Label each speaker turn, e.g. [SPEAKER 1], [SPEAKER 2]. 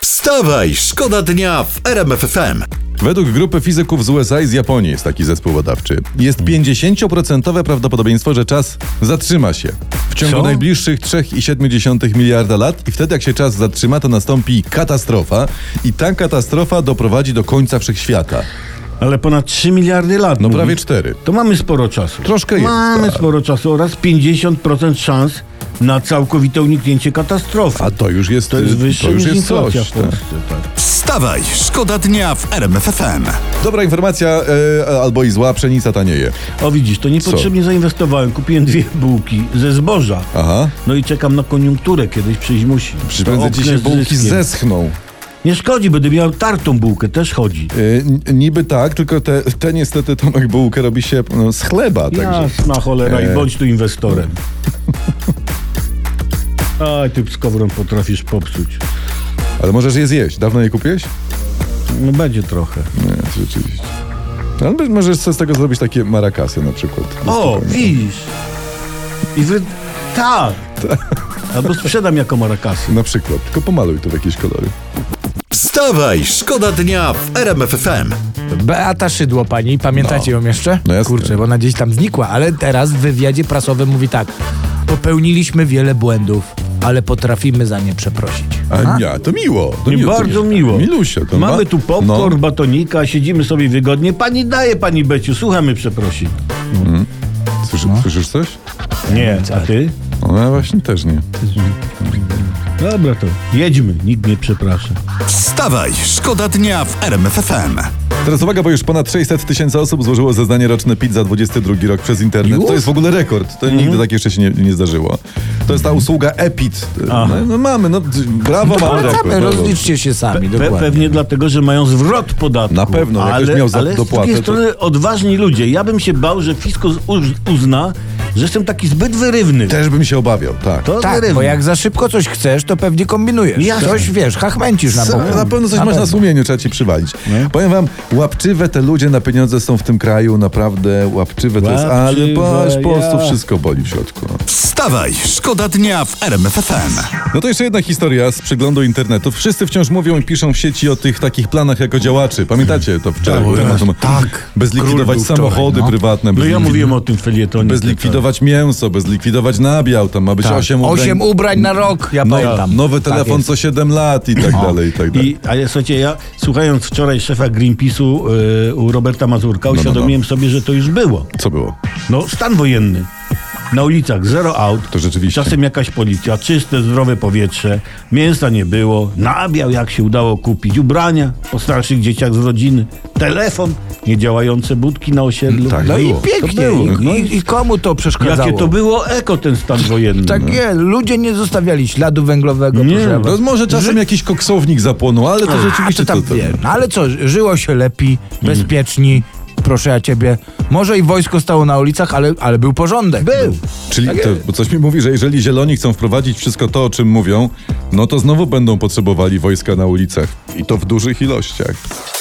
[SPEAKER 1] Wstawaj, szkoda dnia w RMFFM.
[SPEAKER 2] Według grupy fizyków z USA i z Japonii jest taki zespół badawczy. Jest
[SPEAKER 3] Hmm.
[SPEAKER 2] 50% prawdopodobieństwo, że czas zatrzyma się w ciągu
[SPEAKER 3] Co?
[SPEAKER 2] najbliższych 3,7 miliarda lat i wtedy jak się czas zatrzyma, to nastąpi katastrofa i ta katastrofa doprowadzi do końca wszechświata.
[SPEAKER 3] Ale ponad 3 miliardy lat.
[SPEAKER 2] No
[SPEAKER 3] mówi.
[SPEAKER 2] prawie 4.
[SPEAKER 3] To mamy sporo czasu.
[SPEAKER 2] Troszkę jest,
[SPEAKER 3] Mamy
[SPEAKER 2] tak.
[SPEAKER 3] sporo czasu oraz 50% szans na całkowite uniknięcie katastrofy.
[SPEAKER 2] A to już jest, y,
[SPEAKER 3] to jest wyższe
[SPEAKER 2] to już
[SPEAKER 3] niż
[SPEAKER 2] jest coś.
[SPEAKER 3] inflacja w
[SPEAKER 2] tak.
[SPEAKER 3] Polsce. Tak.
[SPEAKER 1] Wstawaj, szkoda dnia w RMFFM.
[SPEAKER 2] Dobra informacja e, albo i zła, pszenica tanieje.
[SPEAKER 3] O widzisz, to niepotrzebnie zainwestowałem. Kupiłem dwie bułki ze zboża.
[SPEAKER 2] Aha.
[SPEAKER 3] No i czekam na koniunkturę kiedyś przyjść musi.
[SPEAKER 2] Przy
[SPEAKER 3] To
[SPEAKER 2] prędzej
[SPEAKER 3] oknę
[SPEAKER 2] dzisiaj
[SPEAKER 3] z
[SPEAKER 2] bułki
[SPEAKER 3] zyskiem.
[SPEAKER 2] zeschną.
[SPEAKER 3] Nie szkodzi, będę miał tartą bułkę, też chodzi.
[SPEAKER 2] Y, n- niby tak, tylko te, te niestety Tomek bułkę robi się no, z chleba, także.
[SPEAKER 3] Jasna cholera
[SPEAKER 2] E.
[SPEAKER 3] i bądź tu inwestorem. Aj, ty z kowrą potrafisz popsuć.
[SPEAKER 2] Ale możesz je zjeść. Dawno je kupiłeś?
[SPEAKER 3] No będzie trochę.
[SPEAKER 2] Nie, rzeczywiście. No, Ale być- możesz sobie z tego zrobić takie marakasy na przykład.
[SPEAKER 3] O, widzisz. I wy... Tak. Albo sprzedam jako marakasy.
[SPEAKER 2] Na przykład. Tylko pomaluj to w jakieś kolory.
[SPEAKER 1] Wstawaj, szkoda dnia w RMFFM.
[SPEAKER 4] Beata Szydło pani, pamiętacie ją jeszcze?
[SPEAKER 2] No jasne.
[SPEAKER 4] Kurczę, bo ona gdzieś tam znikła, ale teraz w wywiadzie prasowym mówi tak. Popełniliśmy wiele błędów, ale potrafimy za nie przeprosić. No,
[SPEAKER 2] A nie, to miło. To
[SPEAKER 3] I
[SPEAKER 2] miło,
[SPEAKER 3] bardzo
[SPEAKER 2] to
[SPEAKER 3] miło.
[SPEAKER 2] Milusia. To
[SPEAKER 3] Mamy
[SPEAKER 2] ma-
[SPEAKER 3] tu popcorn, batonika, siedzimy sobie wygodnie. Pani daje, pani Beciu, słuchamy przeprosin.
[SPEAKER 2] No. Słyszy, Słyszysz coś?
[SPEAKER 3] Nie, a ty?
[SPEAKER 2] No ja właśnie też nie.
[SPEAKER 3] Dobra to. Jedźmy, nikt nie przeprasza.
[SPEAKER 1] Wstawaj, szkoda dnia w RMFFM.
[SPEAKER 2] Teraz uwaga, bo już ponad 600 tysięcy osób złożyło zeznanie roczne PIT za 22 rok przez internet.
[SPEAKER 4] Już?
[SPEAKER 2] To jest w ogóle rekord. To
[SPEAKER 3] Mhm.
[SPEAKER 2] nigdy tak jeszcze się nie, nie zdarzyło. To jest ta usługa EPIT. No,
[SPEAKER 3] Aha.
[SPEAKER 2] no mamy, no brawo, mamy rekord.
[SPEAKER 4] Wracamy,
[SPEAKER 2] brawo.
[SPEAKER 4] rozliczcie się sami,
[SPEAKER 3] Pe-
[SPEAKER 4] dokładnie.
[SPEAKER 3] pewnie dlatego, że mają zwrot podatku.
[SPEAKER 2] Na pewno, jak
[SPEAKER 3] ale,
[SPEAKER 2] ktoś miał za-
[SPEAKER 3] ale
[SPEAKER 2] dopłatę,
[SPEAKER 3] z drugiej
[SPEAKER 2] to-
[SPEAKER 3] strony odważni ludzie. Ja bym się bał, że Fisko uz- uzna, że jestem taki zbyt wyrywny.
[SPEAKER 2] Też bym się obawiał, tak.
[SPEAKER 3] To
[SPEAKER 4] Tak,
[SPEAKER 3] wyrywny.
[SPEAKER 4] bo jak za szybko coś chcesz, to pewnie kombinujesz.
[SPEAKER 3] Jasne.
[SPEAKER 4] Coś, wiesz, hachmęcisz na
[SPEAKER 2] Co?
[SPEAKER 4] boku.
[SPEAKER 2] Na pewno coś masz na sumieniu, trzeba ci przywalić.
[SPEAKER 3] Nie?
[SPEAKER 2] Powiem wam, łapczywe te ludzie na pieniądze są w tym kraju, naprawdę łapczywe to jest, ale
[SPEAKER 3] Łapczywe,
[SPEAKER 2] patrz, po prostu
[SPEAKER 3] ja.
[SPEAKER 2] wszystko boli w środku.
[SPEAKER 1] Wstawaj, szkoda dnia w RMFFM.
[SPEAKER 2] No to jeszcze jedna historia z przeglądu internetu. Wszyscy wciąż mówią i piszą w sieci o tych takich planach jako działaczy. Pamiętacie to wczoraj? był temat, no,
[SPEAKER 4] tak.
[SPEAKER 2] Bez
[SPEAKER 4] Król
[SPEAKER 2] likwidować
[SPEAKER 4] był wczoraj,
[SPEAKER 2] samochody
[SPEAKER 4] no.
[SPEAKER 2] prywatne.
[SPEAKER 3] No
[SPEAKER 2] bez
[SPEAKER 3] ja
[SPEAKER 2] likwi-
[SPEAKER 3] mówiłem o tym felietonie. tak.
[SPEAKER 2] Bez likwidować mięso, bez likwidować nabiał, tam ma być
[SPEAKER 4] Tak.
[SPEAKER 2] osiem ubrań.
[SPEAKER 4] Osiem ubrań na rok, ja
[SPEAKER 2] no,
[SPEAKER 4] pamiętam.
[SPEAKER 2] Nowy
[SPEAKER 4] Tak
[SPEAKER 2] telefon
[SPEAKER 4] jest. No.
[SPEAKER 2] co 7 lat i tak dalej, i tak dalej.
[SPEAKER 3] I, ale słuchajcie, ja słuchając wczoraj szefa Greenpeace'u y, u Roberta Mazurka,
[SPEAKER 2] no, no.
[SPEAKER 3] uświadomiłem sobie, że to już było.
[SPEAKER 2] Co było?
[SPEAKER 3] No, stan wojenny. Na ulicach zero aut.
[SPEAKER 2] To rzeczywiście.
[SPEAKER 3] Czasem jakaś policja, czyste, zdrowe powietrze, mięsa nie było, nabiał jak się udało kupić, ubrania po starszych dzieciach z rodziny, telefon, niedziałające budki na osiedlu.
[SPEAKER 2] Tak.
[SPEAKER 4] No i
[SPEAKER 2] Było.
[SPEAKER 4] pięknie.
[SPEAKER 2] To było.
[SPEAKER 4] I,
[SPEAKER 2] No
[SPEAKER 4] i, I komu to przeszkadzało?
[SPEAKER 3] Jakie to było eko ten stan wojenny.
[SPEAKER 4] Tak nie, ludzie nie zostawiali śladu węglowego.
[SPEAKER 3] Nie,
[SPEAKER 4] proszę
[SPEAKER 3] no
[SPEAKER 4] was.
[SPEAKER 2] No, może czasem jakiś koksownik zapłonął, ale to rzeczywiście
[SPEAKER 4] A, to Mhm. tam,
[SPEAKER 2] to- to-
[SPEAKER 4] wie. No ale co, żyło się lepiej, bezpieczniej, proszę ja ciebie. Może i wojsko stało na ulicach, ale, ale był porządek.
[SPEAKER 3] Był.
[SPEAKER 2] Czyli
[SPEAKER 4] Tak
[SPEAKER 2] to, bo coś mi mówi, że jeżeli zieloni chcą wprowadzić wszystko to, o czym mówią, no to znowu będą potrzebowali wojska na ulicach. I to w dużych ilościach.